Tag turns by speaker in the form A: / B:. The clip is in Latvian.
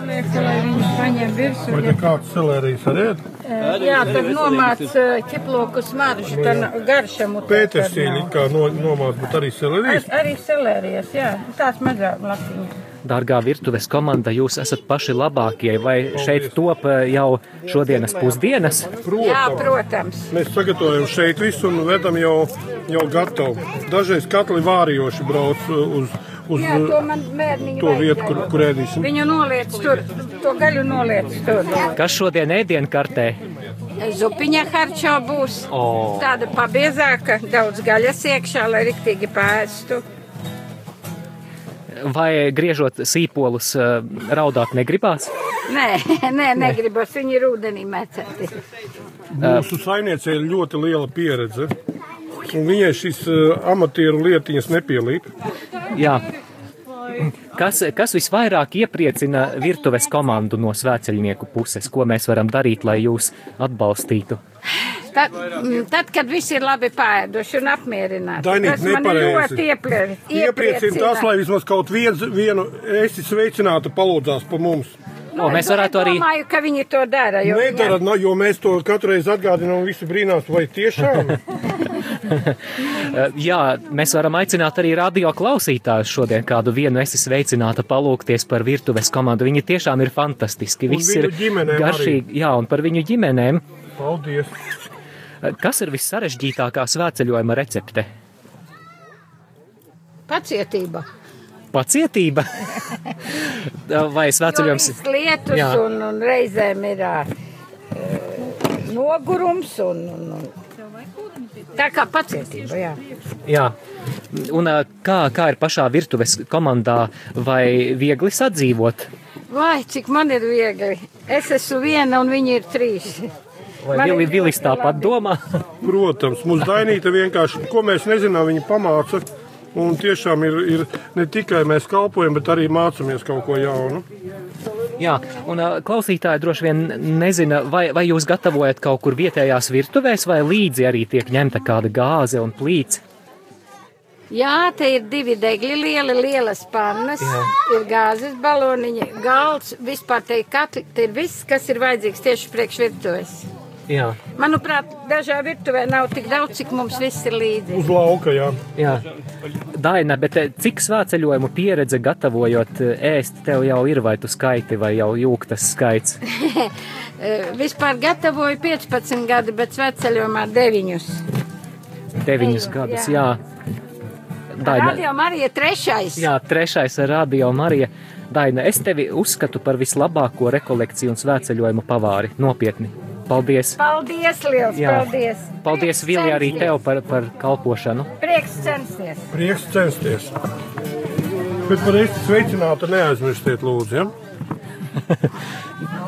A: iepriekš, lai viņš paņem virsmu.
B: Vai te kāds selērijas arī ēd?
A: Jā, tad nomāc eh, ķiplokus maržu, tad garšam.
B: Pētersīni kā no, nomāc, bet arī selērijas.
A: Arī selērijas, jā, tās mazāk lapiņas.
C: Dārgā virtuves komanda, jūs esat paši labākie, vai šeit top eh, jau šodienas pusdienas?
A: Jā,
B: Protams.
A: protams.
B: Mēs sagatavojam šeit visu un vedam jau, jau gatavu. Dažreiz katli vārījoši brauc uz, uz
A: Jā, to man mērniņu
B: to vietu, kur, kur ēdīsim.
A: Viņu noliec tur, to gaļu noliec tur.
C: Kas šodien ēdienkartē?
A: Zupiņa harčā būs
C: O.
A: tāda pabiezāka, daudz gaļas iekšā, lai riktīgi pēstu.
C: Vai griežot sīpolus, eh, raudāt negribās?
A: Nē, nē, negribas, viņi ir ūdenī mecēti.
B: Mūsu saimniecei ir ļoti liela pieredze. Un viņai šis uh, amatieru lietiņas nepielīp.
C: Jā. Kas, kas visvairāk iepriecina virtuves komandu no svēceļnieku puses? Ko mēs varam darīt, lai jūs atbalstītu?
A: Tad, mm, tad, kad viss ir labi pāēduši un apmierināti,
B: Dainīt,
A: tas man
B: nepareizi.
A: ļoti ieplie-
B: Iepriecina tas,
A: iepriecina.
B: lai vismaz kaut viens, vienu esi sveicināta palūdzās pa mums.
C: O, mēs
A: es
C: varētu arī-
A: domāju, Nu, ka viņi to dara. Jo,
B: Nedara, no, jo mēs to katru reizi atgādinām, un visi brīnās, vai tiešām.
C: Eh, Jā, mēs varam aicināt arī radio klausītājus šodien kādu vienu esi sveicināta palūkties par virtuves komandu. Viņi tiešām ir fantastiski.
B: Un
C: Viss
B: viņu
C: ir
B: ģimenēm
C: garšīgi. Jā, un par viņu ģimenēm.
B: Paldies!
C: Eh, Kas ir vissarežģītākā svēceļojuma recepte?
A: Pacietība.
C: Pacietība vai svēceļojums?
A: Tāpēc lietus
C: Jā.
A: un, un reizēm ir ā, ē, nogurums un, un, un tā kā pacietība. Jā.
C: Jā. Un ā, kā, kā ir pašā virtuves komandā, vai viegli sadzīvot?
A: Vai cik man ir viegli? Es esmu viena un viņi ir trīs.
C: Vai
A: Man ir
C: Vili, Vilis
A: ļoti
C: tāpat
A: labi.
C: domā?
B: Protams, mums Dainīta vienkārši, ko mēs nezinām, viņa pamāca. Un tiešām ir, ir ne tikai mēs kalpojam, bet arī mācāmies kaut ko jaunu.
C: Jā, un ā, klausītāji droši vien nezina, vai, vai jūs gatavojat kaut kur vietējās virtuvēs, vai līdzi arī tiek ņemta kāda gāze un plīts.
A: Jā, te ir divi degļi, lieli, lielas pannas, Jā. ir gāzes baloniņi, galds, vispār te ir katli, te ir viss, kas ir vajadzīgs tieši priekš virtuves.
C: Jā,
A: Manuprāt, dažā virtuvē nav tik daudz, cik mums viss ir līdzi.
B: Uz lauka, jā.
C: jā. Daina, bet ā, cik svēceļojumu pieredze gatavojot ā, ēst tev jau ir, vai tu skaiti, vai jau jūgtas skaits?
A: E, Vispār gatavoju 15 gadi, bet sveceļojumā 9.
C: Deviņus
A: Ejo,
C: gadus, jā.
A: jā.
C: Daina,
A: Radio Marija trešais.
C: Jā, trešais ir Radio Marija. Daina, es tevi uzskatu par vislabāko rekolekciju un svētceļojumu pavāri. Nopietni. Paldies!
A: Paldies, liels,
C: Jā.
A: paldies!
C: Paldies,
A: Prieks
C: Vili, arī
A: censties.
C: tev par, par kalpošanu.
A: Prieks censties!
B: Prieks censties. Bet par īsti sveicinātu, neaizmirstiet, lūdzu. Ja?